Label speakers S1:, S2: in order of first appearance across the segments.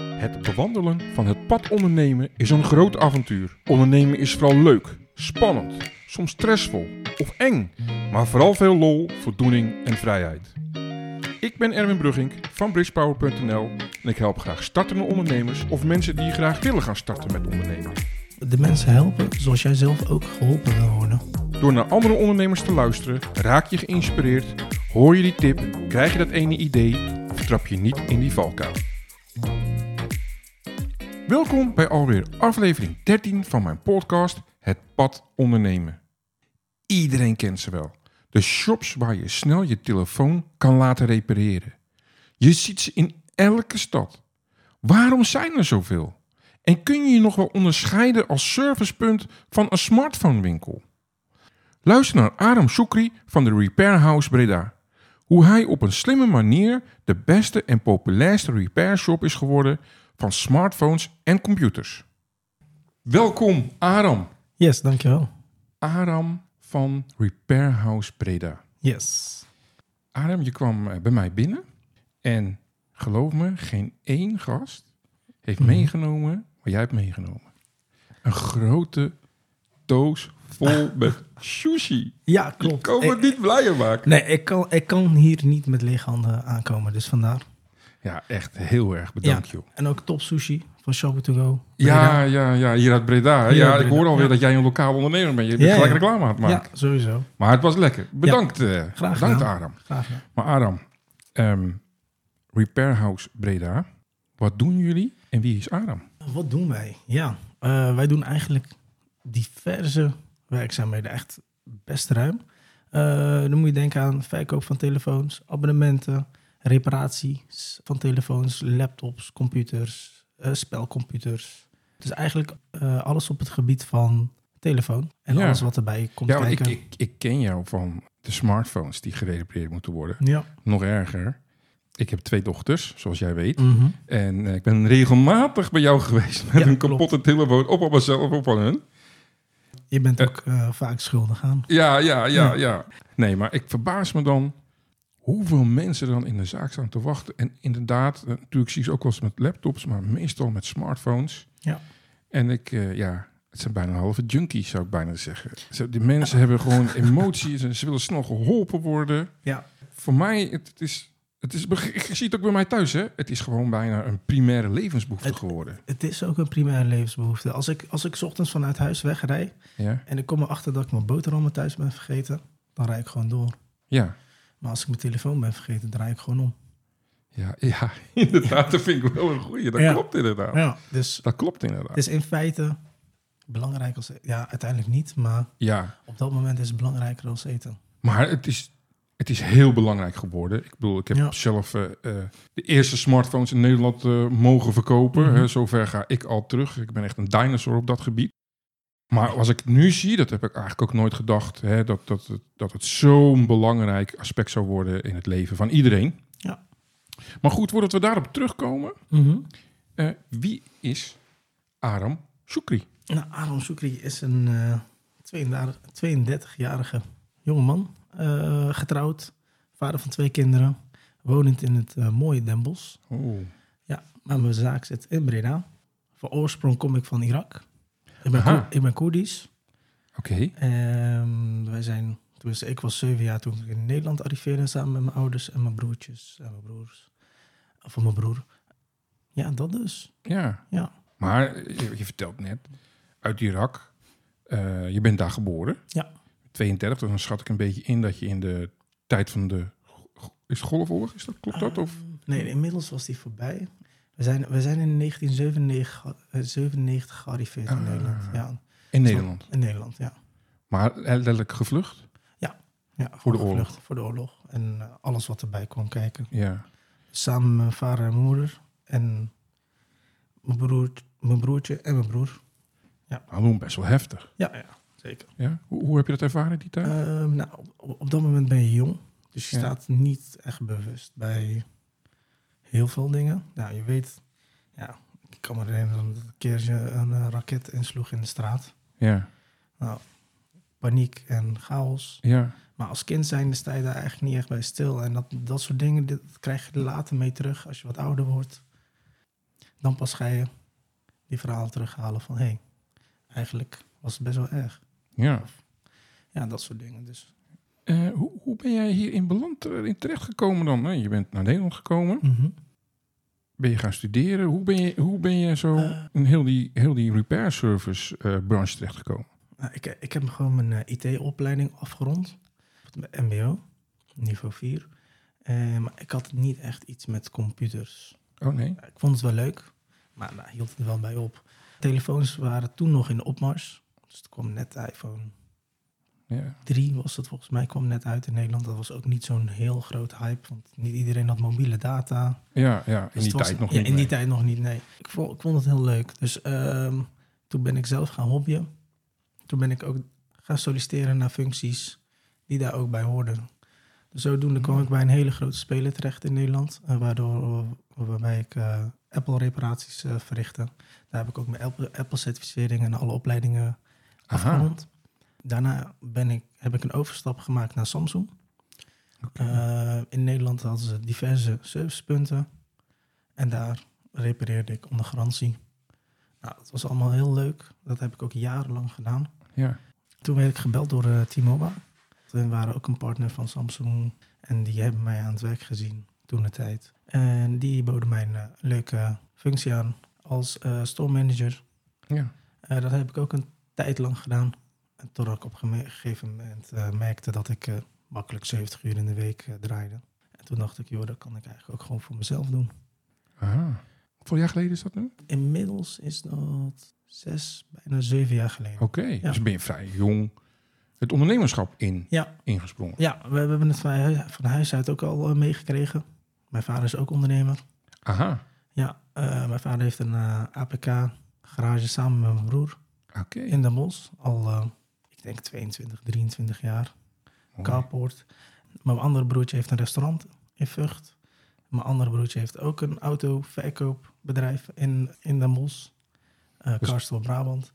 S1: Het bewandelen van het pad ondernemen is een groot avontuur. Ondernemen is vooral leuk, spannend, soms stressvol of eng, maar vooral veel lol, voldoening en vrijheid. Ik ben Erwin Brugging van bridgepower.nl en ik help graag startende ondernemers of mensen die graag willen gaan starten met ondernemen.
S2: de mensen helpen zoals jij zelf ook geholpen wil worden.
S1: Door naar andere ondernemers te luisteren, raak je geïnspireerd, hoor je die tip, krijg je dat ene idee of trap je niet in die valkuil. Welkom bij alweer aflevering 13 van mijn podcast Het Pad Ondernemen. Iedereen kent ze wel. De shops waar je snel je telefoon kan laten repareren. Je ziet ze in elke stad. Waarom zijn er zoveel? En kun je je nog wel onderscheiden als servicepunt van een smartphonewinkel? Luister naar Adam Soekri van de Repair House Breda. Hoe hij op een slimme manier de beste en populairste repairshop is geworden van smartphones en computers. Welkom Aram.
S2: Yes, dankjewel.
S1: Aram van Repair House Breda.
S2: Yes.
S1: Aram, je kwam eh, bij mij binnen en geloof me, geen één gast heeft meegenomen wat jij hebt meegenomen. Een grote doos vol met sushi.
S2: Ja,
S1: Ik
S2: klopt.
S1: kan me
S2: Ik-
S1: niet blijer maken.
S2: nee, ik kan, ik kan hier niet met lege handen aankomen, dus vandaar.
S1: Ja, echt heel erg bedankt, joh.
S2: En ook top sushi van Shoppen to Go.
S1: Ja, ja, ja, hier uit Breda. hè?
S2: Hier
S1: ja,
S2: uit
S1: ik
S2: Breda,
S1: hoor alweer
S2: ja.
S1: dat jij een lokaal ondernemer bent. Je
S2: Ja,
S1: bent gelijk
S2: ja.
S1: reclame aan het maken.
S2: Ja, sowieso.
S1: Maar het was lekker. Bedankt, eh
S2: Graag
S1: bedankt
S2: gedaan.
S1: Aram.
S2: Graag. ja.
S1: Maar Aram, ehm, Repair House Breda, wat doen jullie en wie is Aram?
S2: Nou, Wat doen wij? Ja, eh, wij doen eigenlijk diverse werkzaamheden. Echt best ruim. Eh, dan moet je denken aan verkoop van telefoons, abonnementen, reparaties van telefoons, laptops, computers, eh, spelcomputers. Dus eigenlijk eh, alles op het gebied van telefoon en
S1: Ja.
S2: alles wat erbij komt
S1: Ja, want ik,
S2: kijken.
S1: ik, ik ken jou van de smartphones die gerepareerd moeten worden.
S2: Ja.
S1: Nog erger, ik heb twee dochters, zoals jij weet.
S2: Mhm.
S1: En eh, ik ben regelmatig bij jou geweest met
S2: Ja,
S1: een
S2: klopt.
S1: kapotte telefoon. Op aan mezelf, op aan hun.
S2: Je bent ook eh, vaak schuldig aan.
S1: Ja, ja, ja,
S2: Ja.
S1: ja. Nee, maar ik verbaas me dan hoeveel mensen dan in de zaak staan te wachten. En inderdaad, eh, natuurlijk zie ik ze ook wel eens met laptops, maar meestal met smartphones.
S2: Ja.
S1: En ik, eh, ja, het zijn bijna halve junkies, zou ik bijna zeggen. Zo, Die mensen hebben gewoon emoties en ze willen snel geholpen worden.
S2: Ja.
S1: Voor mij, het, het is... Het is, beg- ik zie het ook bij mij thuis, hè. Het is gewoon bijna een primaire levensbehoefte
S2: Het-
S1: geworden.
S2: Het is ook een primaire levensbehoefte. Als ik, als ik 's ochtends vanuit huis wegrij,
S1: Ja,
S2: en ik kom erachter dat ik mijn boterhammen thuis ben vergeten, dan rijd ik gewoon door.
S1: ja,
S2: Maar als ik mijn telefoon ben vergeten, draai ik gewoon om.
S1: ja, ja inderdaad. Dat vind ik wel een goeie. Dat
S2: Ja.
S1: klopt inderdaad.
S2: Ja. Dus
S1: Dat klopt inderdaad.
S2: het is in feite belangrijk als e- Ja, uiteindelijk niet, maar
S1: Ja,
S2: op dat moment is het belangrijker als eten.
S1: Maar het is, het is heel belangrijk geworden. Ik bedoel, ik heb
S2: Ja.
S1: zelf eh, eh, de eerste smartphones in Nederland eh, mogen verkopen.
S2: Mhm.
S1: Hè, zover ga ik al terug. Ik ben echt een dinosaur op dat gebied. Maar als ik het nu zie, dat heb ik eigenlijk ook nooit gedacht, hè, dat, dat, het- dat het zo'n belangrijk aspect zou worden in het leven van iedereen.
S2: Ja.
S1: Maar goed, voordat we daarop terugkomen, eh, wie is Aram Shukri?
S2: Nou, Aaron Soekri is een eh, 32 32-jarige jongeman. eh, getrouwd, vader van twee kinderen, wonend in het eh, mooie Den Bosch.
S1: Oh.
S2: Ja, maar mijn zaak zit in Breda. Van oorsprong kom ik van Irak. Ik ben,
S1: Aha.
S2: Koer- ik ben Koerdisch.
S1: Oké.
S2: Ehm, wij zijn, tenminste, ik was zeven jaar toen ik in Nederland arriveerde samen met mijn ouders en mijn broertjes en mijn broers. Of mijn broer. Ja, dat dus.
S1: Ja.
S2: Ja.
S1: Maar je, je vertelt net, uit Irak, eh, je bent daar geboren.
S2: Ja.
S1: 32, dus dan schat ik een beetje in dat je in de tijd van de... Is het golfoorlog? Is dat, klopt
S2: Eh,
S1: dat? Of?
S2: Ehm, Nee, inmiddels was die voorbij. We zijn, we zijn in 1997 eh, 97 gearriveerd in
S1: Ah.
S2: Nederland. Ja,
S1: In Nederland.
S2: in Nederland, ja.
S1: Maar eh, letterlijk gevlucht?
S2: ja
S1: Voor de
S2: gevlucht,
S1: oorlog.
S2: Voor de oorlog. En eh, alles wat erbij kwam kijken.
S1: Ja.
S2: Samen met mijn vader en moeder. En mijn, broer, mijn broertje en mijn broer.
S1: Nou, doen best wel heftig.
S2: Ja, ja zeker.
S1: Ja? Hoe, hoe heb je dat ervaren die tijd?
S2: Ehm, nou, op, op dat moment ben je jong. Dus je
S1: Hm? Ja.
S2: staat niet echt bewust bij heel veel dingen. Nou, je weet... Ja, ik kan me herinneren dat een keer je een eh, raket insloeg in de straat.
S1: Ja.
S2: Nou, paniek en chaos.
S1: Ja.
S2: Maar als kind zijn sta je daar eigenlijk niet echt bij stil. En dat, dat soort dingen dat krijg je er later mee terug als je wat ouder wordt. Dan pas ga je die verhalen terughalen van hé, hey, eigenlijk was het best wel erg.
S1: Ja.
S2: Ja, dat soort dingen. Dus
S1: Eh, hoe, hoe ben jij hier in beland eh, in terechtgekomen dan? Nou, je bent naar Nederland gekomen. Ben je gaan studeren? Hoe ben je, hoe ben je zo
S2: Eh.
S1: in heel die, heel die repair service eh, branche terechtgekomen?
S2: Nou, ik, ik heb gewoon mijn eh, IT-opleiding afgerond. Bij MBO, niveau 4. Eh, maar ik had niet echt iets met computers.
S1: Oh nee.
S2: Ja, Ik vond het wel leuk, maar daar hield het er wel bij op. Telefoons waren toen nog in de opmars. Dus er kwam net de iPhone
S1: Ja.
S2: 3 was dat volgens mij, kwam net uit in Nederland. Dat was ook niet zo'n heel groot hype, want niet iedereen had mobiele data.
S1: Ja, ja, in die
S2: Dus het was-
S1: tijd nog
S2: ja,
S1: niet.
S2: In die
S1: nee.
S2: tijd nog niet, nee. Ik vond, ik vond het heel leuk. Dus ehm, toen ben ik zelf gaan hobbyen. Toen ben ik ook gaan solliciteren naar functies die daar ook bij hoorden. Dus zodoende
S1: Mm.
S2: kwam ik bij een hele grote speler terecht in Nederland. eh, waardoor, waarbij ik eh, Apple-reparaties eh, verrichtte. Daar heb ik ook mijn Apple- Apple-certificering en alle opleidingen
S1: Aha.
S2: afgerond. Daarna ben ik, heb ik een overstap gemaakt naar Samsung. Eh, in Nederland hadden ze diverse servicepunten. En daar repareerde ik onder garantie. Nou, dat was allemaal heel leuk. Dat heb ik ook jarenlang gedaan.
S1: Ja.
S2: Toen werd ik gebeld door eh, T-Mobile. Toen waren ook een partner van Samsung. En die hebben mij aan het werk gezien toen de tijd. En die boden mij een eh, leuke functie aan als eh, store manager.
S1: Ja.
S2: Eh, dat heb ik ook een tijd lang gedaan. En totdat ik op een gegeven moment eh, merkte dat ik eh, makkelijk 70 uur in de week eh, draaide. En toen dacht ik, joh, dat kan ik eigenlijk ook gewoon voor mezelf doen.
S1: Aha. Hoeveel jaar geleden is dat nu?
S2: Inmiddels is dat zes, bijna zeven jaar geleden.
S1: Oké, dus ben je vrij jong het ondernemerschap in,
S2: Ja.
S1: ingesprongen.
S2: Ja, we, we hebben het van, hu- van huis uit ook al eh, meegekregen. Mijn vader is ook ondernemer.
S1: Aha,
S2: Ja, eh, mijn vader heeft een APK-garage samen met mijn broer
S1: oké.
S2: in Den Bosch. Al, eh, ik denk 22, 23 jaar.
S1: Mooi.
S2: carport. Mijn andere broertje heeft een restaurant in Vught. Mijn andere broertje heeft ook een autoverkoopbedrijf in, in Den Bosch. eh
S1: Dus- Oh.
S2: Karstel, Brabant.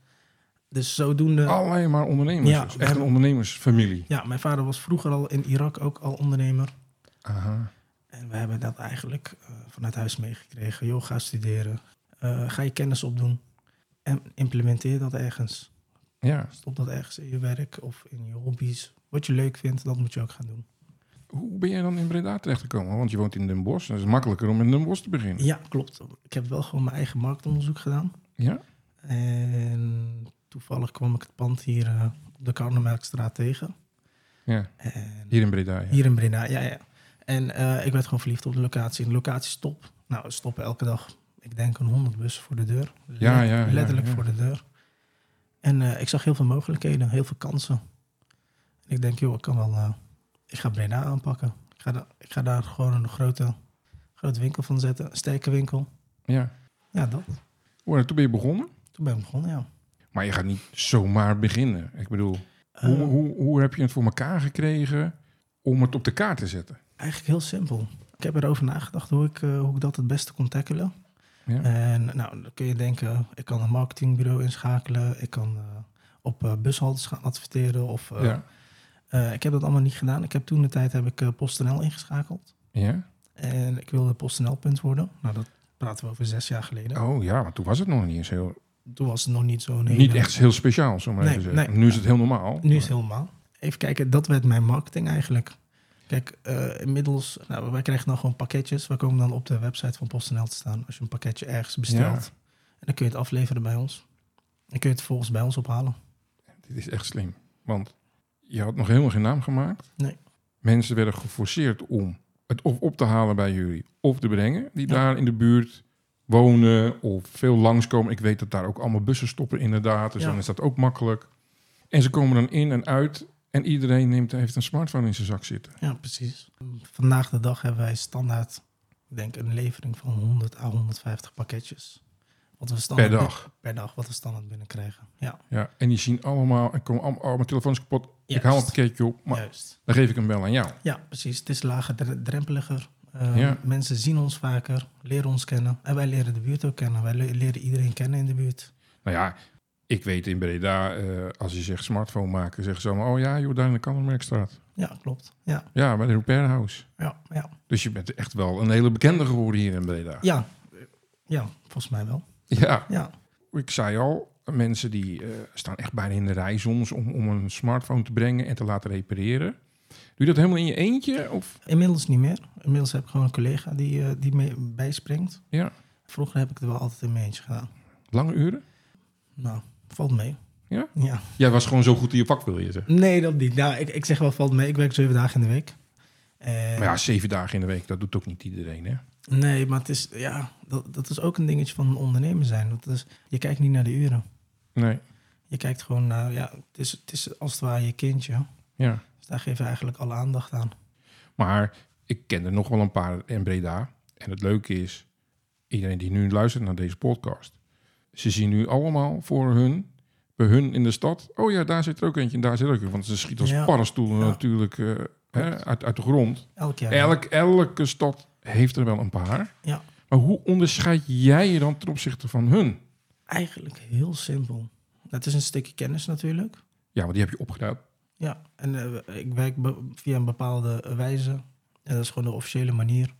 S2: Dus zodoende...
S1: Alleen maar ondernemers.
S2: Ja,
S1: dus
S2: we
S1: echt een
S2: hebben-
S1: ondernemersfamilie.
S2: Ja, mijn vader was vroeger al in Irak ook al ondernemer.
S1: Aha.
S2: En we hebben dat eigenlijk eh, vanuit huis meegekregen. Joh, ga studeren. Eh, ga je kennis opdoen. En implementeer dat ergens.
S1: Ja.
S2: Stop dat ergens in je werk of in je hobby's. Wat je leuk vindt, dat moet je ook gaan doen.
S1: Hoe ben jij dan in Breda terechtgekomen? Want je woont in Den Bosch. Dat is makkelijker om in Den Bosch te beginnen.
S2: Ja, klopt. Ik heb wel gewoon mijn eigen marktonderzoek gedaan.
S1: Ja?
S2: En toevallig kwam ik het pand hier eh, op de Karnemelkstraat tegen.
S1: Ja.
S2: En
S1: Hier in Breda. Ja.
S2: hier in Breda, ja, ja. En eh, ik werd gewoon verliefd op de locatie. En de locatie is top. Nou, er stoppen elke dag, ik denk, een honderd bussen voor de deur.
S1: Ja,
S2: Let-
S1: ja, ja,
S2: Letterlijk
S1: ja.
S2: voor de deur. En eh, ik zag heel veel mogelijkheden, heel veel kansen. En ik denk, joh, ik kan wel... eh, ik ga Breda aanpakken. Ik ga, da- ik ga daar gewoon een grote, grote winkel van zetten. Een sterke winkel.
S1: ja.
S2: Ja, dat.
S1: Oh, en toen ben je begonnen.
S2: Toen ben ik begonnen, ja.
S1: Maar je gaat niet zomaar beginnen. Ik bedoel, hoe,
S2: Eh,
S1: hoe, hoe heb je het voor elkaar gekregen om het op de kaart te zetten?
S2: Eigenlijk heel simpel. Ik heb erover nagedacht hoe ik, eh, hoe ik dat het beste kon tackelen.
S1: Ja.
S2: En nou, dan kun je denken, ik kan een marketingbureau inschakelen. Ik kan eh, op eh, bushaltes gaan adverteren. Of, eh,
S1: ja.
S2: eh, ik heb dat allemaal niet gedaan. Ik heb toen de tijd heb ik eh, PostNL ingeschakeld.
S1: Ja?
S2: En ik wilde PostNL-punt worden. Nou, dat praten we over zes jaar geleden.
S1: Oh ja, want toen was het nog niet eens heel...
S2: Toen was het nog niet zo'n hele...
S1: Niet echt heel speciaal, zo maar
S2: Nee,
S1: even zeggen.
S2: nee.
S1: Nu is het heel normaal.
S2: Nu is het helemaal. Even kijken, dat werd mijn marketing eigenlijk. Kijk, eh, inmiddels, nou, wij krijgen dan gewoon pakketjes. Wij komen dan op de website van PostNL te staan als je een pakketje ergens bestelt. En dan kun je het afleveren bij ons. Dan kun je het volgens bij ons ophalen.
S1: Dit is echt slim. Want je had nog helemaal geen naam gemaakt.
S2: Nee.
S1: Mensen werden geforceerd om het of op te halen bij jullie of te brengen. Die
S2: Ja.
S1: daar in de buurt wonen of veel langskomen. Ik weet dat daar ook allemaal bussen stoppen inderdaad. Dus
S2: Ja.
S1: dan is dat ook makkelijk. En ze komen dan in en uit. En iedereen neemt, heeft een smartphone in zijn zak zitten.
S2: Ja, precies. Vandaag de dag hebben wij standaard, ik denk, een levering van 100 à 150 pakketjes. Wat we standaard
S1: Per dag.
S2: Per dag, wat we standaard binnenkrijgen. Ja,
S1: Ja, en die zien allemaal, en komen allemaal, oh, mijn telefoon is kapot. Ik haal een
S2: Juist.
S1: pakketje op, maar
S2: juist.
S1: dan geef ik hem wel aan jou.
S2: Ja, precies. Het is lager, dre- drempeliger. Eh,
S1: Ja.
S2: Mensen zien ons vaker, leren ons kennen. En wij leren de buurt ook kennen. Wij le- leren iedereen kennen in de buurt.
S1: Nou ja, ik weet in Breda, eh, als je zegt smartphone maken, zeggen ze allemaal... oh ja, joh, daar in de Kammermerkstraat.
S2: Ja, klopt. Ja,
S1: Ja, bij de Repair House.
S2: ja, ja.
S1: Dus je bent echt wel een hele bekende geworden hier in Breda.
S2: ja. Ja, volgens mij wel.
S1: Ja,
S2: Ja,
S1: ik zei al, mensen die eh, staan echt bijna in de rij soms om, om een smartphone te brengen en te laten repareren. Doe je dat helemaal in je eentje? Of?
S2: inmiddels niet meer. Inmiddels heb ik gewoon een collega die, eh, die mee bijspringt.
S1: Ja,
S2: Vroeger heb ik het wel altijd in mijn eentje gedaan.
S1: lange uren?
S2: Nou, valt mee.
S1: Ja?
S2: Ja.
S1: Jij was gewoon zo goed in je vak, wil je zeggen.
S2: Nee, dat niet. Nou, ik, ik zeg wel valt mee. Ik werk zeven dagen in de week. Eh, En-
S1: Maar ja, zeven dagen in de week, dat doet ook niet iedereen, hè?
S2: Nee, maar het is, ja, dat, dat is ook een dingetje van een ondernemer zijn. Dat is, je kijkt niet naar de uren.
S1: Nee,
S2: Je kijkt gewoon naar, ja, het is, het is als het ware je kindje.
S1: ja.
S2: Dus daar geef je eigenlijk alle aandacht aan.
S1: Maar ik ken er nog wel een paar in Breda. En het leuke is, iedereen die nu luistert naar deze podcast, ze zien nu allemaal voor hun, bij hun in de stad, oh ja, daar zit er ook eentje en daar zit er ook een. Want ze schieten als
S2: Ja.
S1: paddenstoelen
S2: Ja.
S1: natuurlijk eh, hè, uit, uit de grond.
S2: Elk jaar.
S1: Elk, elke stad heeft er wel een paar.
S2: Ja.
S1: Maar hoe onderscheid jij je dan ten opzichte van hun?
S2: Eigenlijk heel simpel. Dat is een stukje kennis natuurlijk.
S1: Ja, want die heb je opgedaan.
S2: Ja, en eh, ik werk be- via een bepaalde wijze. En dat is gewoon de officiële manier.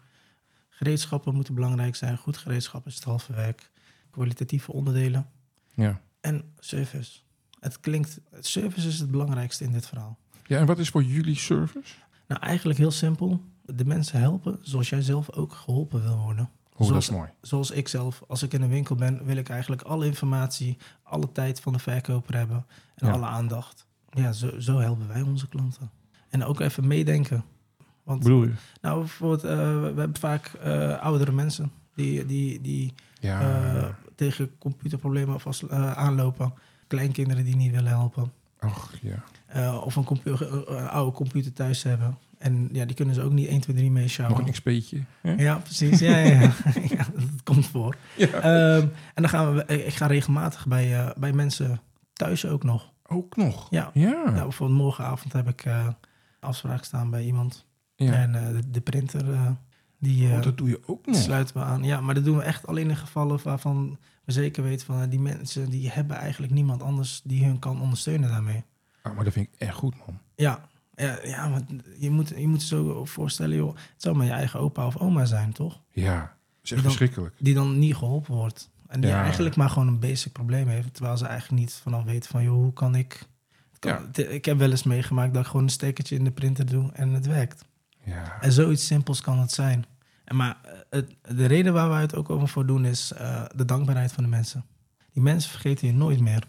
S2: Gereedschappen moeten belangrijk zijn. Goed gereedschap is het halve werk. Kwalitatieve onderdelen.
S1: Ja.
S2: En service. Het klinkt, service is het belangrijkste in dit verhaal.
S1: ja, en wat is voor jullie service?
S2: Nou, eigenlijk heel simpel. De mensen helpen zoals jij zelf ook geholpen wil worden.
S1: Oh, dat
S2: Zoals-
S1: is mooi.
S2: Zoals ik zelf, als ik in een winkel ben, wil ik eigenlijk alle informatie, alle tijd van de verkoper hebben en
S1: Ja.
S2: alle aandacht. Ja, zo, zo helpen wij onze klanten. En ook even meedenken. Want
S1: bedoel je?
S2: nou, bijvoorbeeld, eh, we hebben vaak eh, oudere mensen die, die, die
S1: Ah, Ja,
S2: eh, tegen computerproblemen vast, eh, aanlopen. Kleinkinderen die niet willen helpen.
S1: ach ja.
S2: Eh, of een, compu- eh, een oude computer thuis hebben. En ja, die kunnen ze ook niet 1, 2, 3 mee sjouwen.
S1: Nog een XP'tje. hè?
S2: nou, Ja, precies. Ja, ja, ja. ja dat komt voor.
S1: Ja.
S2: Ehm, en dan gaan we, ik ga regelmatig bij, eh, bij mensen thuis ook nog.
S1: Ook nog.
S2: Ja.
S1: Ja.
S2: Nou, bijvoorbeeld morgenavond heb ik eh afspraak staan bij iemand.
S1: Ja.
S2: En eh, de, de printer, eh, die eh,
S1: Oh, dat doe je ook
S2: die
S1: nog.
S2: sluiten we aan. Ja, maar dat doen we echt alleen in gevallen waarvan we zeker weten van eh, die mensen die hebben eigenlijk niemand anders die hun kan ondersteunen daarmee.
S1: Ah, maar dat vind ik echt goed, man.
S2: Ja, ja, ja want je moet je moet zo voorstellen, joh, het zou maar je eigen opa of oma zijn, toch?
S1: Ja, dat is echt
S2: Dan-
S1: verschrikkelijk.
S2: die dan niet geholpen wordt. En die
S1: Ja.
S2: eigenlijk maar gewoon een basic probleem heeft. Terwijl ze eigenlijk niet vanaf weten van, joh, hoe kan ik... het kan-
S1: Ja.
S2: het- Ik heb wel eens meegemaakt dat ik gewoon een stekertje in de printer doe en het werkt.
S1: Ja,
S2: En zoiets simpels kan het zijn. En maar eh, het, de reden waar we het ook over voor doen is eh, de dankbaarheid van de mensen. Die mensen vergeten je nooit meer.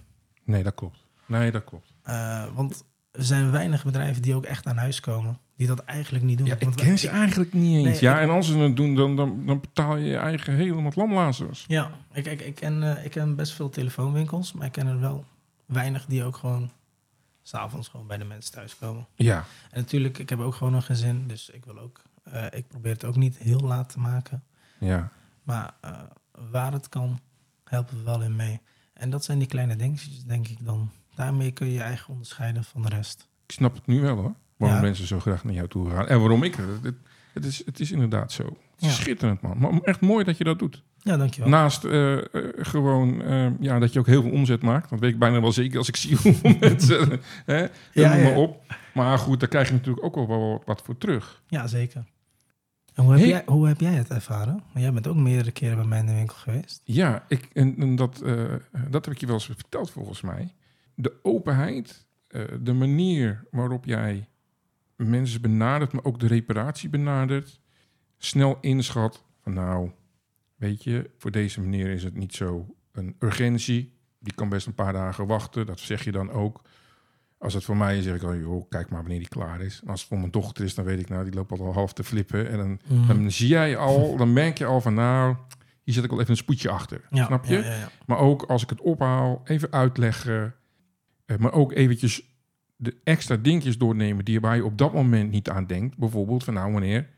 S1: nee, dat klopt. Nee, dat klopt.
S2: Eh, want er zijn weinig bedrijven die ook echt aan huis komen. Die dat eigenlijk niet doen.
S1: Ja, ik
S2: Want we-
S1: ken ze eigenlijk niet eens.
S2: Nee,
S1: ja, en als ze het doen, dan, dan, dan betaal je je eigen helemaal lamlazers.
S2: Ja, ik, ik, ik, ken, eh, ik ken best veel telefoonwinkels, maar ik ken er wel weinig die ook gewoon s'avonds gewoon bij de mensen thuiskomen.
S1: Ja,
S2: En natuurlijk, ik heb ook gewoon een gezin, dus ik wil ook, eh, ik probeer het ook niet heel laat te maken.
S1: ja.
S2: Maar eh, waar het kan, helpen we wel in mee. En dat zijn die kleine dingetjes, denk ik dan. Daarmee kun je je eigen onderscheiden van de rest.
S1: Ik snap het nu wel hoor. Waarom
S2: Ja.
S1: mensen zo graag naar jou toe gaan. En waarom ik. Het, het- het is, het is inderdaad zo. Het is
S2: Ja.
S1: Schitterend, man. Maar echt mooi dat je dat doet.
S2: Ja, dankjewel.
S1: Naast eh, eh, gewoon eh, ja, dat je ook heel veel omzet maakt. Dat weet ik bijna wel zeker als ik zie hoe mensen... Hè,
S2: Ja,
S1: noem maar
S2: ja.
S1: op. Maar goed, daar krijg je natuurlijk ook wel wel wat voor terug.
S2: Ja, zeker. En hoe heb,
S1: Hey.
S2: jij, hoe heb jij het ervaren? Want jij bent ook meerdere keren bij mij in de winkel geweest.
S1: Ja, ik, en, en dat, eh, dat heb ik je wel eens verteld volgens mij. De openheid, eh, de manier waarop jij mensen benadert, maar ook de reparatie benadert. Snel inschat van nou, weet je, voor deze meneer is het niet zo een urgentie. Die kan best een paar dagen wachten, dat zeg je dan ook. Als het voor mij is, zeg ik al, joh, kijk maar wanneer die klaar is. En als het voor mijn dochter is, dan weet ik nou, die loopt al half te flippen. En dan
S2: Mm.
S1: dan zie jij al, dan merk je al van nou, hier zit ik al even een spoedje achter.
S2: Ja,
S1: snap je?
S2: Ja, ja, ja.
S1: Maar ook als ik het ophaal, even uitleggen. Eh, maar ook eventjes de extra dingetjes doornemen die waar je op dat moment niet aan denkt. Bijvoorbeeld van nou meneer,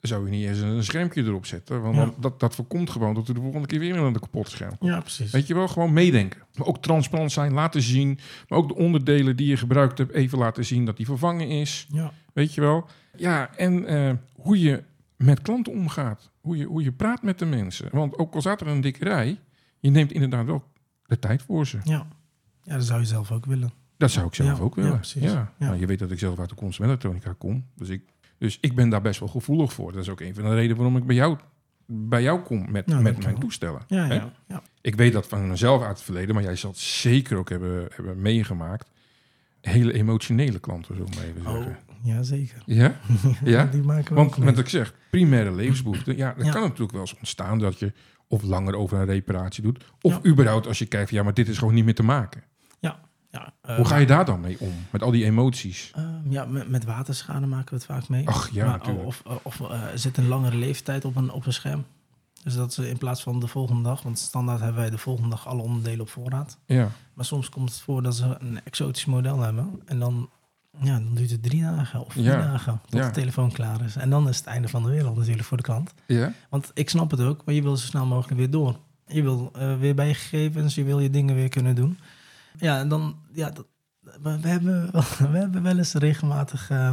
S1: zou je niet eens een schermpje erop zetten? Want
S2: Ja.
S1: want dat, dat voorkomt gewoon dat we de volgende keer weer een kapot scherm.
S2: ja precies.
S1: Weet je wel, gewoon meedenken. Maar ook transparant zijn, laten zien. Maar ook de onderdelen die je gebruikt hebt, even laten zien dat die vervangen is.
S2: Ja.
S1: Weet je wel? Ja, en eh, hoe je met klanten omgaat. Hoe je, hoe je praat met de mensen. Want ook al staat er een dikke rij, je neemt inderdaad wel de tijd voor ze.
S2: Ja. ja, dat zou je zelf ook willen.
S1: Dat zou ik zelf
S2: Ja,
S1: ook
S2: ja,
S1: willen. Ja,
S2: precies. Ja.
S1: Nou, je weet dat ik zelf uit de consumentenelektronica kom. Dus ik, dus ik ben daar best wel gevoelig voor. Dat is ook een van de redenen waarom ik bij jou bij jou kom met,
S2: Nou,
S1: met
S2: dankjewel.
S1: mijn toestellen.
S2: Ja,
S1: Hè?
S2: ja, ja.
S1: Ik weet dat van mezelf uit het verleden, maar jij zal het zeker ook hebben, hebben meegemaakt. Hele emotionele klanten, zo maar even
S2: Oh,
S1: zeggen.
S2: ja, zeker.
S1: Ja? Ja?
S2: Die maken we
S1: Want
S2: ook
S1: met
S2: mee.
S1: wat ik zeg, primaire levensbehoeften. Ja, dat
S2: Ja.
S1: kan natuurlijk wel eens ontstaan dat je of langer over een reparatie doet. Of
S2: Ja. Eh,
S1: überhaupt als je kijkt van ja, maar dit is gewoon niet meer te maken.
S2: ja, eh,
S1: Hoe ga je daar dan mee om? Met al die emoties.
S2: ehm, ja, met, met waterschade maken we het vaak mee.
S1: Ach ja,
S2: Maar-
S1: natuurlijk.
S2: of eh, of eh, er zit een langere leeftijd op een, op een scherm. Dus dat ze in plaats van de volgende dag, want standaard hebben wij de volgende dag alle onderdelen op voorraad.
S1: Ja.
S2: Maar soms komt het voor dat ze een exotisch model hebben. En dan, ja, dan duurt het drie dagen of vier
S1: Ja,
S2: dagen tot
S1: ja.
S2: de telefoon klaar is. En dan is het einde van de wereld natuurlijk voor de klant.
S1: Ja?
S2: Want ik snap het ook, maar je wil zo snel mogelijk weer door. Je wil eh, weer bij je gegevens, je wil je dingen weer kunnen doen. Ja, en dan, ja, dat, we, we hebben, wel- we hebben wel eens regelmatig eh,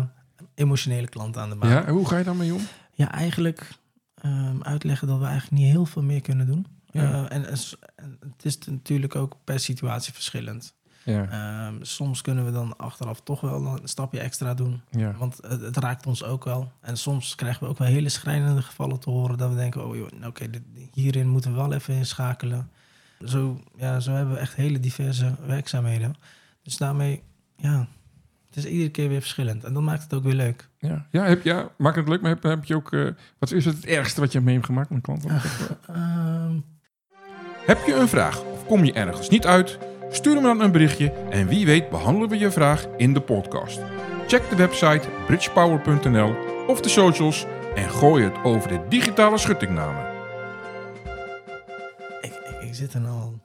S2: emotionele klanten aan de baan.
S1: ja? En hoe ga je daar mee om?
S2: Ja, eigenlijk ehm, uitleggen dat we eigenlijk niet heel veel meer kunnen doen.
S1: Ja.
S2: Eh, en, es- en het is natuurlijk ook per situatie verschillend.
S1: Ja.
S2: Ehm, soms kunnen we dan achteraf toch wel een stapje extra doen.
S1: Ja.
S2: Want het, het raakt ons ook wel. En soms krijgen we ook wel hele schrijnende gevallen te horen. Dat we denken, oh joh, nou, oké, dit- hierin moeten we wel even inschakelen. Zo, ja, zo hebben we echt hele diverse werkzaamheden. Dus daarmee, ja, het is iedere keer weer verschillend. En dat maakt het ook weer leuk.
S1: Ja. Ja, heb, ja, maak het leuk, maar heb, heb je ook... eh, wat is het ergste wat je mee hebt gemaakt met een klant?
S2: Ehm,
S1: Heb je een vraag of kom je ergens niet uit? Stuur me dan een berichtje en wie weet behandelen we je vraag in de podcast. Check de website bridgepower.nl of de socials en gooi het over de digitale schuttingnamen.
S2: Ik, ik, ik zit er nou al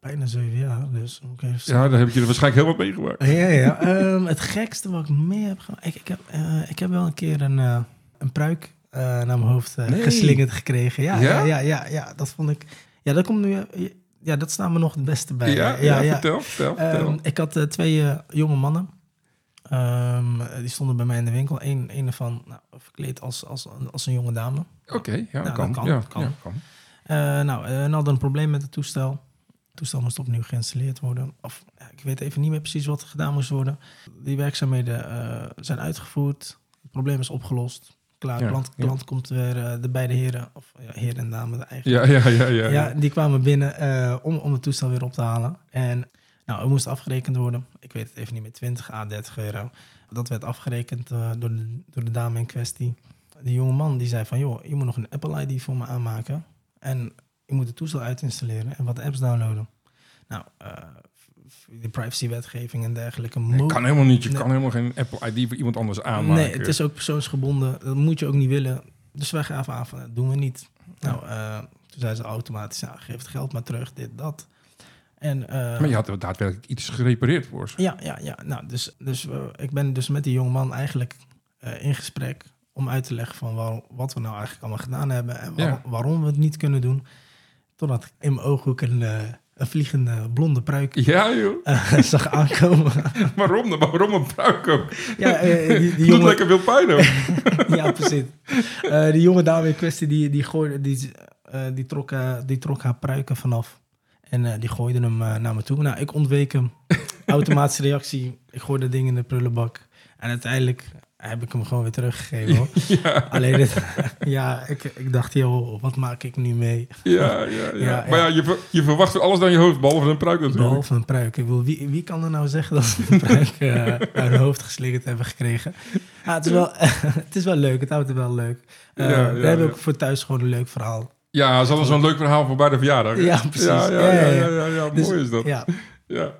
S2: bijna zeven jaar, dus moet ik even
S1: Ja, daar heb je er waarschijnlijk heel wat meegemaakt.
S2: Ja, ja. Ehm, het gekste wat ik mee heb gemaakt... Ik, ik, heb, eh, ik heb wel een keer een, eh, een pruik eh, naar mijn hoofd eh,
S1: Nee.
S2: geslingerd gekregen. Ja,
S1: Ja?
S2: ja? Ja, ja, ja, dat vond ik... Ja, dat komt nu... eh, Ja, dat staat me nog het beste
S1: Ja,
S2: bij.
S1: ja, vertel, vertel, vertel.
S2: Ehm, ik had eh, twee eh, jonge mannen. Ehm, eh, die stonden bij mij in de winkel. Eén een ervan nou, verkleed als, als, als een jonge dame.
S1: Oké, ja,
S2: nou, dat
S1: kan.
S2: kan,
S1: Ja,
S2: kan.
S1: ja, kan.
S2: Eh, nou, eh, en hadden een probleem met het toestel. Het toestel moest opnieuw geïnstalleerd worden. Of ja, ik weet even niet meer precies wat er gedaan moest worden. Die werkzaamheden eh, zijn uitgevoerd. Het probleem is opgelost. Klaar,
S1: Ja,
S2: klant,
S1: ja.
S2: klant komt weer. eh, de beide heren, of ja, heren en dame eigenlijk.
S1: Ja, ja, ja, ja.
S2: Ja, die kwamen binnen eh, om, om het toestel weer op te halen. En nou, het moest afgerekend worden. Ik weet het even niet meer, 20 à 30 euro. Dat werd afgerekend eh, door, de, door de dame in kwestie. Die jonge man die zei van, joh, je moet nog een Apple ID voor me aanmaken. En je moet het toestel utinstalleren en wat apps downloaden. Nou, eh, de privacywetgeving en dergelijke.
S1: Je
S2: mo-
S1: kan helemaal niet, je
S2: Nee.
S1: kan helemaal geen Apple ID voor iemand anders aanmaken.
S2: Nee, het is ook persoonsgebonden. Dat moet je ook niet willen. Dus wij gaven aan van, dat doen we niet. Nou, eh, toen zei ze automatisch, nou, geef het geld maar terug, dit, dat. En, eh,
S1: Maar je had daadwerkelijk iets gerepareerd voor.
S2: ja, ja, ja. Nou, dus, dus eh, ik ben dus met die jongeman eigenlijk eh, in gesprek om uit te leggen van waar- wat we nou eigenlijk allemaal gedaan hebben en waar-
S1: Ja.
S2: waarom we het niet kunnen doen. Totdat ik in mijn ooghoek een, eh, een vliegende blonde pruik
S1: Ja, joh.
S2: eh, zag aankomen.
S1: Waarom dan? Waarom een pruik ook?
S2: ja, eh, die, die
S1: Doet
S2: jongen,
S1: lekker veel pijn ook.
S2: ja, precies. Eh, die jonge dame in kwestie, die, die, gooide, die, eh, die, trok, eh, die trok haar pruiken vanaf. En eh, die gooide hem eh, naar me toe. Nou, ik ontweek hem. Automatische reactie. Ik gooi dat ding in de prullenbak. En uiteindelijk heb ik hem gewoon weer teruggegeven. Hoor. Alleen, het, ja, ik, ik dacht, joh, wat maak ik nu mee?
S1: Ja, ja, ja.
S2: Ja,
S1: Maar ja, je, ver- je verwacht alles dan je hoofd, behalve een pruik natuurlijk.
S2: Behalve een pruik. Ik bedoel, wie, wie kan er nou zeggen dat ze een pruik eh, naar hun hoofd geslingerd hebben gekregen? Ah, het, is wel, het is wel leuk. Het houdt het wel leuk. Eh,
S1: Ja, ja,
S2: we hebben
S1: ja.
S2: ook voor thuis gewoon een leuk verhaal.
S1: Ja, ze hadden zo'n leuk verhaal voor bij de verjaardag.
S2: Ja, precies.
S1: Ja, ja, ja, ja, ja, ja,
S2: Dus-
S1: mooi is dat. Ja.
S2: Ja,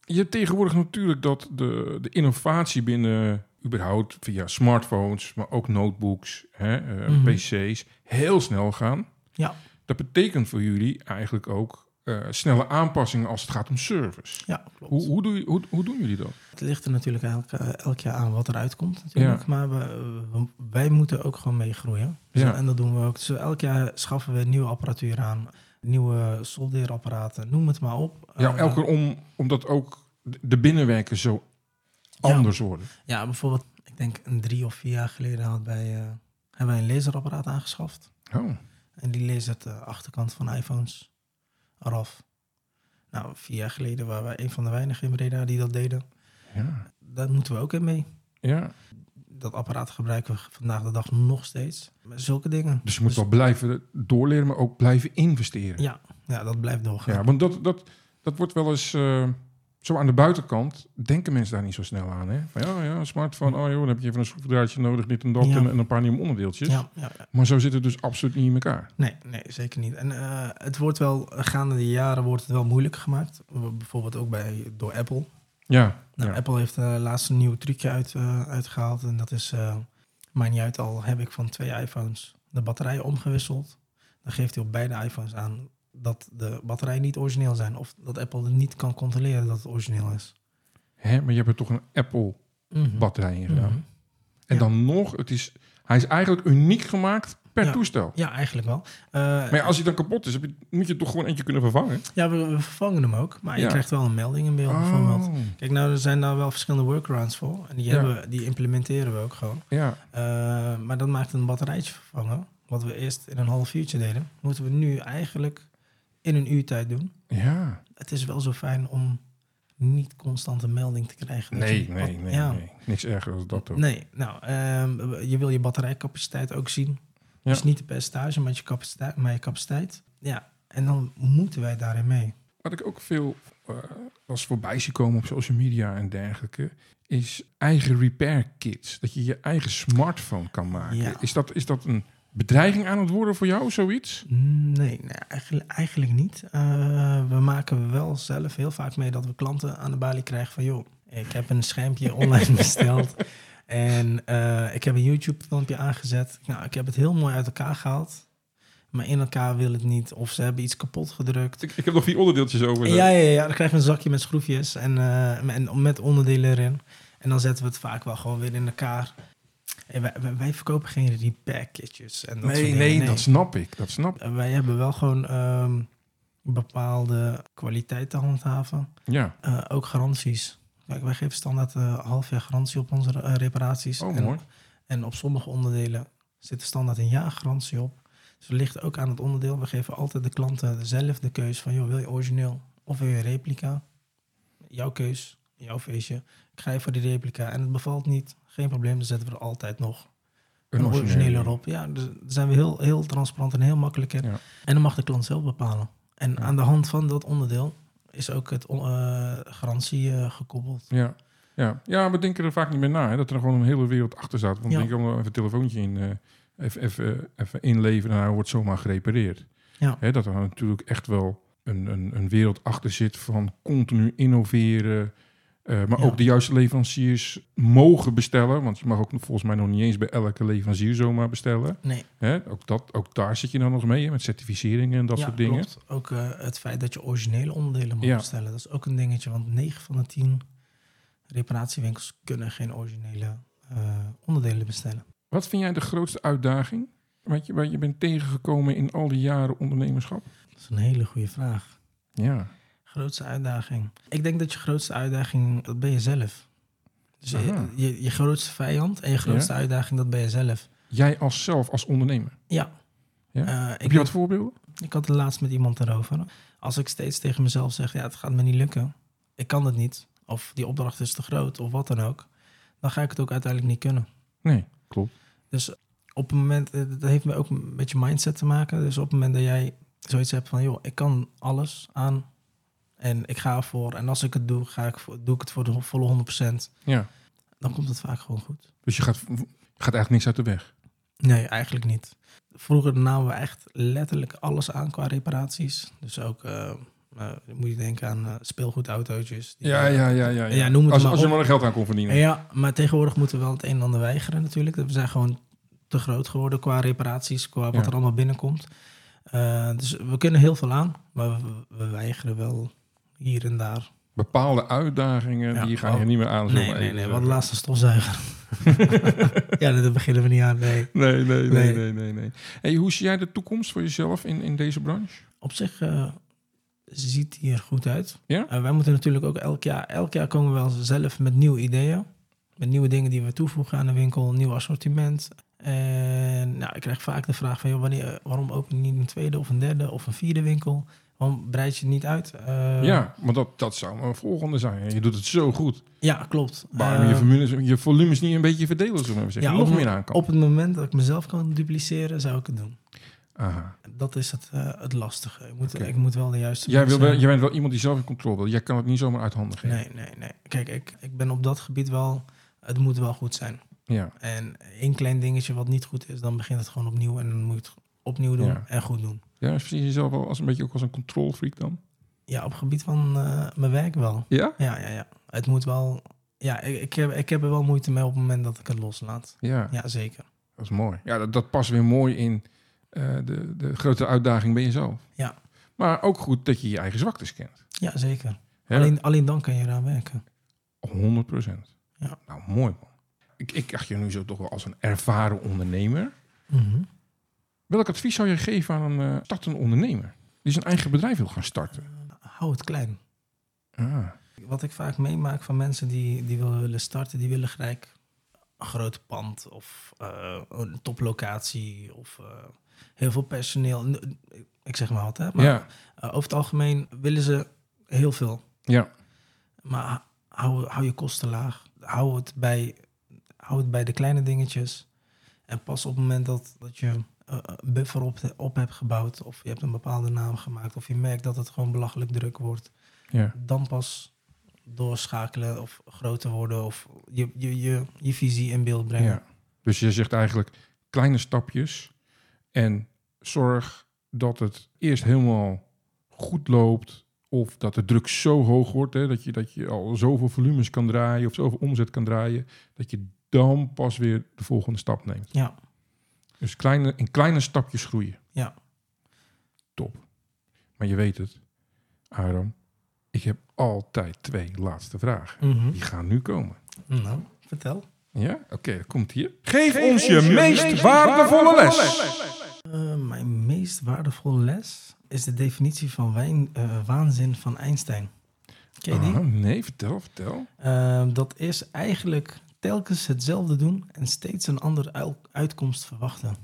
S1: Je hebt tegenwoordig natuurlijk dat de, de innovatie binnen, überhaupt via smartphones, maar ook notebooks, hè, eh,
S2: Mhm.
S1: pc's, heel snel gaan.
S2: Ja.
S1: Dat betekent voor jullie eigenlijk ook eh, snelle aanpassingen als het gaat om service.
S2: ja klopt.
S1: Hoe, hoe, doe, je- hoe, hoe doen jullie dat?
S2: Het ligt er natuurlijk elk, eh, elk jaar aan wat eruit komt natuurlijk.
S1: Ja.
S2: Maar we, we- wij moeten ook gewoon meegroeien. Dus-
S1: Ja.
S2: En dat doen we ook. Dus elk jaar schaffen we nieuwe apparatuur aan. Nieuwe soldeerapparaten, noem het maar op.
S1: Ja,
S2: Eh,
S1: elke keer om, omdat ook de- de binnenwerken zo anders worden.
S2: Ja, bijvoorbeeld, ik denk een drie of vier jaar geleden had wij, eh, hebben wij een laserapparaat aangeschaft.
S1: Oh.
S2: En die lasert de achterkant van iPhones eraf. Nou, vier jaar geleden waren wij een van de weinigen in Breda die dat deden.
S1: Ja,
S2: Daar moeten we ook in mee.
S1: ja.
S2: dat apparaat gebruiken we vandaag de dag nog steeds. Met zulke dingen.
S1: Dus je moet wel blijven doorleren, maar ook blijven investeren.
S2: Ja, ja, dat blijft doorgaan.
S1: Ja, want dat, dat, dat wordt wel eens... eh, zo aan de buitenkant denken mensen daar niet zo snel aan. Hè? Van, ja, ja, een smartphone. Oh joh, dan heb je even een schroefdraadje nodig, dit en dat.
S2: Ja.
S1: En, en een paar nieuwe onderdeeltjes.
S2: Ja, ja, ja.
S1: Maar zo zit het dus absoluut niet in elkaar.
S2: Nee, nee, zeker niet. En eh, het wordt wel, gaande de jaren wordt het wel moeilijker gemaakt. Bijvoorbeeld ook bij, door Apple.
S1: Ja,
S2: Nou,
S1: ja.
S2: Apple heeft eh, laatst een nieuw trucje uit, eh, uitgehaald. En dat is, eh maakt niet uit al, heb ik van twee iPhones de batterijen omgewisseld. Dan geeft hij op beide iPhones aan dat de batterijen niet origineel zijn. Of dat Apple niet kan controleren dat het origineel is.
S1: Hè? Maar je hebt er toch een Apple-batterij in gedaan.
S2: Mhm.
S1: En
S2: Ja.
S1: dan nog, het is, hij is eigenlijk uniek gemaakt per
S2: Ja.
S1: toestel.
S2: Ja, eigenlijk wel. Eh,
S1: Maar ja, als hij dan kapot is, heb je, moet je toch gewoon eentje kunnen vervangen.
S2: ja, we, we vervangen hem ook. Maar je
S1: Ja. Oh.
S2: krijgt wel een melding in beeld bijvoorbeeld. Kijk, nou, er zijn daar wel verschillende workarounds voor. En die,
S1: Ja.
S2: hebben, we- die implementeren we ook gewoon.
S1: Ja,
S2: Eh, maar dat maakt een batterijtje vervangen. Wat we eerst in een half uurtje deden, moeten we nu eigenlijk in een uur tijd doen.
S1: ja.
S2: Het is wel zo fijn om niet constant een melding te krijgen. dat
S1: Nee,
S2: je-
S1: nee,
S2: wat-
S1: nee,
S2: ja.
S1: nee. Niks erger dan dat ook.
S2: Nee, nou, ehm, je wil je batterijcapaciteit ook zien.
S1: Ja.
S2: Dus niet de percentage, maar je capaciteit. Maar je capaciteit. Ja, en dan moeten wij daarin mee.
S1: Wat ik ook veel eh, als voorbij zie komen op social media en dergelijke, is eigen repair kits. Dat je je eigen smartphone kan maken.
S2: Ja.
S1: Is, dat, is dat een bedreiging aan het worden voor jou, zoiets?
S2: Nee, nee eigenlijk, eigenlijk niet. Eh, we maken wel zelf heel vaak mee dat we klanten aan de balie krijgen van... joh, ik heb een schermpje online besteld en eh, ik heb een YouTube-filmpje aangezet. Nou, ik heb het heel mooi uit elkaar gehaald, maar in elkaar wil het niet. Of ze hebben iets kapot gedrukt.
S1: Ik, ik heb nog vier onderdeeltjes over.
S2: Ja, ja, ja, dan krijg je een zakje met schroefjes en, eh, en met onderdelen erin. En dan zetten we het vaak wel gewoon weer in elkaar. En wij, wij, wij verkopen geen repair kitjes. En dat soort
S1: nee,
S2: dingen.
S1: nee, dat snap ik. Dat snap ik.
S2: Uh, Wij hebben wel gewoon ehm, bepaalde kwaliteit te handhaven.
S1: Ja.
S2: Eh, ook garanties. Kijk, wij geven standaard eh, een half jaar garantie op onze eh, reparaties.
S1: Oh,
S2: en,
S1: mooi.
S2: en op sommige onderdelen zit er standaard een jaar garantie op. Dus het ligt ook aan het onderdeel. We geven altijd de klanten zelf de keus van... Joh, wil je origineel of wil je replica? Jouw keus, jouw feestje. Ik ga even voor die replica en het bevalt niet. Geen probleem, dan zetten we er altijd nog een originele erop. Ja, dus daar zijn we heel, heel transparant en heel makkelijk in.
S1: Ja.
S2: En dan mag de klant zelf bepalen. En aan de hand van dat onderdeel is ook het on- eh, garantie eh, gekoppeld.
S1: Ja. Ja. ja, we denken er vaak niet meer na. Hè, dat er gewoon een hele wereld achter staat. Want
S2: Ja.
S1: ik kan wel even een telefoontje in, eh, even, even, eh, even inleveren en hij wordt zomaar gerepareerd.
S2: Ja.
S1: Hè, dat er natuurlijk echt wel een, een, een wereld achter zit van continu innoveren. eh, maar
S2: Ja.
S1: ook de juiste leveranciers mogen bestellen. Want je mag ook volgens mij nog niet eens bij elke leverancier zomaar bestellen.
S2: Nee,
S1: Hè, ook, dat, ook daar zit je dan nog mee, hè, met certificeringen en dat
S2: ja,
S1: soort dingen.
S2: klopt. Ook eh, het feit dat je originele onderdelen mag
S1: Ja.
S2: bestellen. Dat is ook een dingetje, want 9 van de 10 reparatiewinkels kunnen geen originele eh, onderdelen bestellen.
S1: Wat vind jij de grootste uitdaging? Wat je, wat je bent tegengekomen in al die jaren ondernemerschap?
S2: Dat is een hele goede vraag.
S1: Ja.
S2: Grootste uitdaging. Ik denk dat je grootste uitdaging, dat ben je zelf. Dus
S1: Aha.
S2: je, je, je grootste vijand en je grootste uitdaging, dat ben je zelf.
S1: Jij als zelf, als ondernemer.
S2: Ja.
S1: Ja?
S2: Eh,
S1: Heb
S2: ik,
S1: je wat voorbeelden?
S2: ik had het laatst met iemand erover. Als ik steeds tegen mezelf zeg, ja, het gaat me niet lukken. Ik kan het niet. Of die opdracht is te groot, of wat dan ook. Dan ga ik het ook uiteindelijk niet kunnen.
S1: Nee, klopt.
S2: Dus op het moment, eh, dat heeft me ook een beetje mindset te maken. Dus op het moment dat jij zoiets hebt van, joh, ik kan alles aan. En ik ga ervoor. En als ik het doe, ga ik voor, doe ik het voor de volle 100
S1: Ja.
S2: dan komt het vaak gewoon goed.
S1: Dus je gaat, gaat eigenlijk niks uit de weg.
S2: Nee, eigenlijk niet. Vroeger namen we echt letterlijk alles aan qua reparaties. Dus ook, eh, eh, moet je denken aan eh, speelgoedautootjes. Die-
S1: Ja, ja, ja. ja, ja.
S2: Ja, noem het
S1: als,
S2: maar
S1: als je
S2: op.
S1: maar er geld aan kon verdienen.
S2: Ja, maar tegenwoordig moeten we wel het een en ander weigeren natuurlijk. We zijn gewoon te groot geworden qua reparaties, qua wat
S1: Ja.
S2: er allemaal binnenkomt. Eh, dus we kunnen heel veel aan, maar we, we weigeren wel hier en daar.
S1: Bepaalde uitdagingen,
S2: Ja,
S1: die ga je
S2: oh.
S1: niet meer aan.
S2: Nee,
S1: zomaar
S2: nee,
S1: even
S2: nee, wat
S1: zeggen.
S2: laatste stofzuiger. ja, daar beginnen we niet aan, nee.
S1: Nee, nee, nee,
S2: Nee.
S1: nee, nee. nee. Hey, hoe zie jij de toekomst voor jezelf in, in deze branche?
S2: op zich eh, ziet hij er goed uit.
S1: Ja?
S2: Eh, wij moeten natuurlijk ook elk jaar, elk jaar komen we wel zelf met nieuwe ideeën. Met nieuwe dingen die we toevoegen aan de winkel, nieuw assortiment. En nou, ik krijg vaak de vraag van, joh, wanneer, waarom open je niet een tweede of een derde of een vierde winkel? Waarom breid je het niet uit? Eh,
S1: ja, maar dat, dat zou een volgende zijn. Je doet het zo goed.
S2: Ja, klopt.
S1: Waarom
S2: Eh,
S1: je, volumes, je volumes niet een beetje verdelen, zullen we zeggen.
S2: ja,
S1: Nog
S2: op-
S1: meer aan kan.
S2: Op het moment dat ik mezelf kan dupliceren, zou ik het doen.
S1: Aha.
S2: Dat is het, eh, het lastige. Ik moet,
S1: Oké.
S2: ik moet wel de juiste
S1: Jij, wil,
S2: mensen-
S1: wel- jij bent wel iemand die zelf in controle wil. Jij kan het niet zomaar uit handen geven.
S2: Nee, nee, nee. Kijk, ik, ik ben op dat gebied wel... Het moet wel goed zijn.
S1: Ja.
S2: En één klein dingetje wat niet goed is, dan begint het gewoon opnieuw. En dan moet je het opnieuw doen
S1: Ja.
S2: en goed doen.
S1: ja, dus zie je jezelf wel als een beetje ook als een control freak dan?
S2: Ja, op het gebied van eh, mijn werk wel.
S1: Ja?
S2: Ja, ja, ja. Het moet wel... Ja, ik, ik, heb, ik heb er wel moeite mee op het moment dat ik het loslaat.
S1: Ja,
S2: Ja, zeker.
S1: dat is mooi. Ja, dat, dat past weer mooi in eh, de, de grote uitdaging bij jezelf.
S2: Ja.
S1: Maar ook goed dat je je eigen zwaktes kent.
S2: Ja, zeker.
S1: Hè?
S2: Alleen, alleen dan kan je eraan werken.
S1: 100 procent.
S2: Ja.
S1: Nou, mooi man. Ik, ik acht je nu zo toch wel als een ervaren ondernemer.
S2: Mhm.
S1: Welk advies zou je geven aan een eh, startende ondernemer? Die zijn eigen bedrijf wil gaan starten.
S2: Hou het klein.
S1: Ah,
S2: Wat ik vaak meemaak van mensen die, die willen willen starten, die willen gelijk een groot pand of eh, een toplocatie of eh, heel veel personeel. N- Ik zeg maar altijd, maar
S1: ja,
S2: eh, over het algemeen willen ze heel veel.
S1: ja,
S2: Maar hou, hou je kosten laag. Hou het, bij, hou het bij de kleine dingetjes. En pas op het moment dat, dat je eh, een buffer op, op hebt gebouwd of je hebt een bepaalde naam gemaakt of je merkt dat het gewoon belachelijk druk wordt
S1: ja.
S2: dan pas doorschakelen of groter worden of je, je, je, je visie in beeld brengen.
S1: ja. Dus je zegt eigenlijk kleine stapjes. En zorg dat het eerst helemaal goed loopt. Of dat de druk zo hoog wordt hè, dat, je, dat je al zoveel volumes kan draaien of zoveel omzet kan draaien. Dat je dan pas weer de volgende stap neemt.
S2: Ja.
S1: Dus kleine, in kleine stapjes groeien.
S2: Ja.
S1: Top. Maar je weet het, Aram. Ik heb altijd twee laatste vragen.
S2: Mhm.
S1: Die gaan nu komen.
S2: Nou, vertel.
S1: Ja? Oké, dat komt hier. Geef, ons je, meest, waardevolle les.
S2: Eh, mijn meest waardevolle les is de definitie van wijn, eh, waanzin van Einstein. Ken je die?
S1: Ah, nee, vertel, vertel.
S2: Eh, dat is eigenlijk telkens hetzelfde doen en steeds een andere uil- uitkomst verwachten.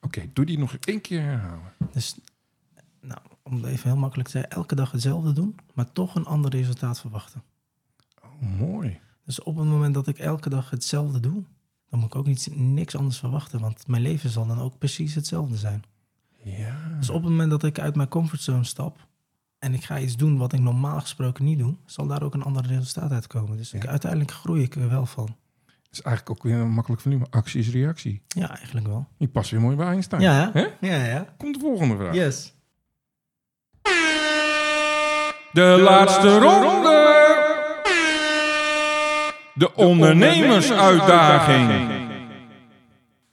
S1: Oké, doe die nog één keer herhalen.
S2: Dus, nou, om het even heel makkelijk te zeggen, elke dag hetzelfde doen, maar toch een ander resultaat verwachten.
S1: Oh, mooi.
S2: Dus op het moment dat ik elke dag hetzelfde doe, dan moet ik ook niet, niks anders verwachten. Want mijn leven zal dan ook precies hetzelfde zijn.
S1: Ja.
S2: Dus op het moment dat ik uit mijn comfortzone stap en ik ga iets doen wat ik normaal gesproken niet doe, zal daar ook een ander resultaat uitkomen. Dus ik-
S1: Ja.
S2: uiteindelijk groei ik er wel van.
S1: Dat is eigenlijk ook weer een makkelijk volume. Actie is reactie.
S2: Ja, eigenlijk wel.
S1: Die past weer mooi bij Einstein.
S2: Ja, hè?
S1: Ah. Hè?
S2: ja, ja.
S1: Komt de volgende vraag.
S2: Yes.
S1: De, laatste, ronde. De ondernemersuitdaging.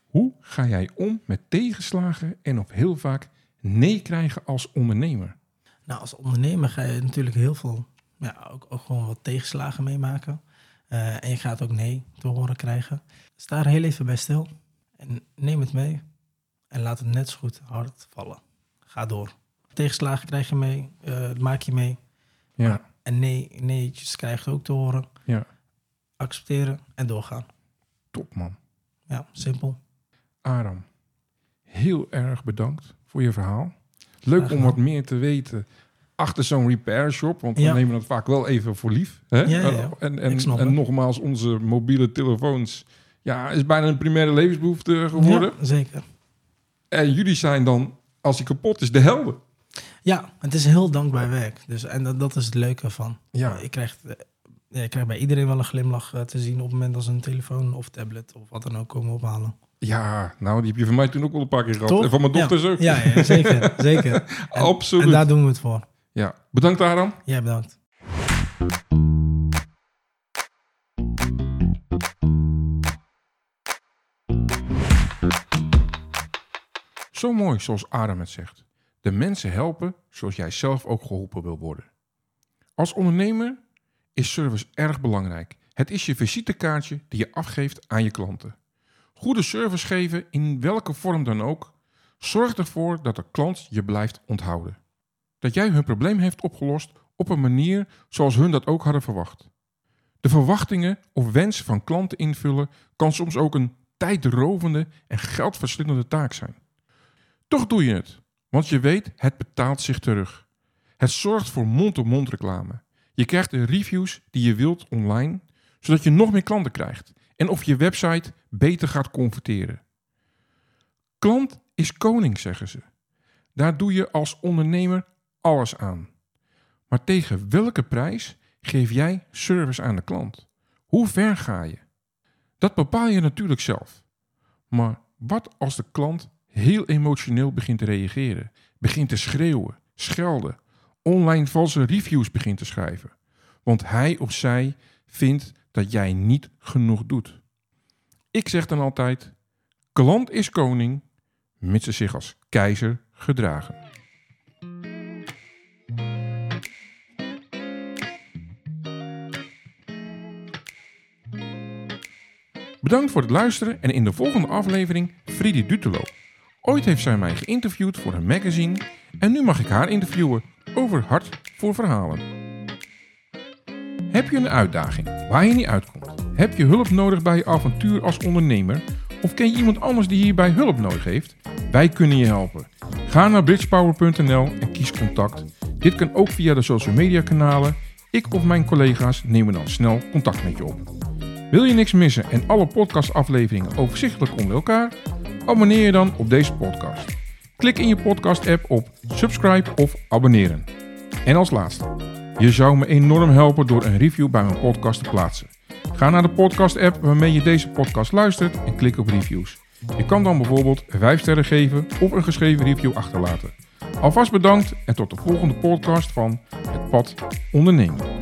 S1: Hoe ga jij om met tegenslagen en of heel vaak nee krijgen als ondernemer?
S2: Nou, als ondernemer ga je natuurlijk heel veel, ja, ook, ook gewoon wat tegenslagen meemaken. Eh, en je gaat ook nee te horen krijgen. Sta er heel even bij stil en neem het mee. En laat het net zo goed hard vallen. Ga door. Tegenslagen krijg je mee, eh, maak je mee.
S1: Ja,
S2: En nee, neetjes krijg je ook te horen.
S1: ja.
S2: Accepteren en doorgaan.
S1: top man.
S2: Ja, simpel.
S1: Aram, heel erg bedankt voor je verhaal. Leuk om
S2: gedaan.
S1: wat meer te weten achter zo'n repair shop, want
S2: Ja.
S1: we nemen dat vaak wel even voor lief. Hè? Oh,
S2: Ja, ja, ja.
S1: En, en,
S2: Ik snap
S1: en
S2: het.
S1: nogmaals, onze mobiele telefoons ja, is bijna een primaire levensbehoefte geworden.
S2: Ja, zeker.
S1: En jullie zijn dan, als die kapot is, de helden.
S2: Ja, het is heel dankbaar werk. Dus, en dat, dat is het leuke van.
S1: Ja.
S2: Ik, krijg, eh, ja, ik krijg bij iedereen wel een glimlach eh, te zien op het moment dat ze een telefoon of tablet of wat dan ook komen ophalen.
S1: Ja, nou, die heb je van mij toen ook wel een paar keer gehad.
S2: Toch?
S1: En eh, van mijn dochters ook.
S2: Ja, ja, zeker. zeker. En-
S1: Absoluut.
S2: En daar doen we het voor.
S1: Ja, bedankt Aram.
S2: Jij bedankt.
S1: Zo mooi zoals Adam het zegt. De mensen helpen zoals jij zelf ook geholpen wil worden. Als ondernemer is service erg belangrijk. Het is je visitekaartje die je afgeeft aan je klanten. Goede service geven in welke vorm dan ook zorgt ervoor dat de klant je blijft onthouden. Dat jij hun probleem heeft opgelost op een manier zoals hun dat ook hadden verwacht. De verwachtingen of wensen van klanten invullen kan soms ook een tijdrovende en geldverslindende taak zijn. Toch doe je het, want je weet het betaalt zich terug. Het zorgt voor mond-op-mond reclame. Je krijgt de reviews die je wilt online, zodat je nog meer klanten krijgt en of je website beter gaat converteren. Klant is koning, zeggen ze. Daar doe je als ondernemer alles aan. Maar tegen welke prijs geef jij service aan de klant? Hoe ver ga je? Dat bepaal je natuurlijk zelf. Maar wat als de klant heel emotioneel begint te reageren, begint te schreeuwen, schelden, online valse reviews begint te schrijven, want hij of zij vindt dat jij niet genoeg doet? Ik zeg dan altijd: klant is koning, mits ze zich als keizer gedragen. Bedankt voor het luisteren en in de volgende aflevering Fridi Dutelo. Ooit heeft zij mij geïnterviewd voor een magazine en nu mag ik haar interviewen over Hart voor Verhalen. Heb je een uitdaging waar je niet uitkomt? Heb je hulp nodig bij je avontuur als ondernemer? Of ken je iemand anders die hierbij hulp nodig heeft? Wij kunnen je helpen. Ga naar bridgepower.nl en kies contact. Dit kan ook via de social media kanalen. Ik of mijn collega's nemen dan snel contact met je op. Wil je niks missen en alle podcastafleveringen overzichtelijk onder elkaar? Abonneer je dan op deze podcast. Klik in je podcast-app op subscribe of abonneren. En als laatste, je zou me enorm helpen door een review bij mijn podcast te plaatsen. Ga naar de podcast-app waarmee je deze podcast luistert en klik op reviews. Je kan dan bijvoorbeeld 5 sterren geven of een geschreven review achterlaten. Alvast bedankt en tot de volgende podcast van Het Pad Ondernemen.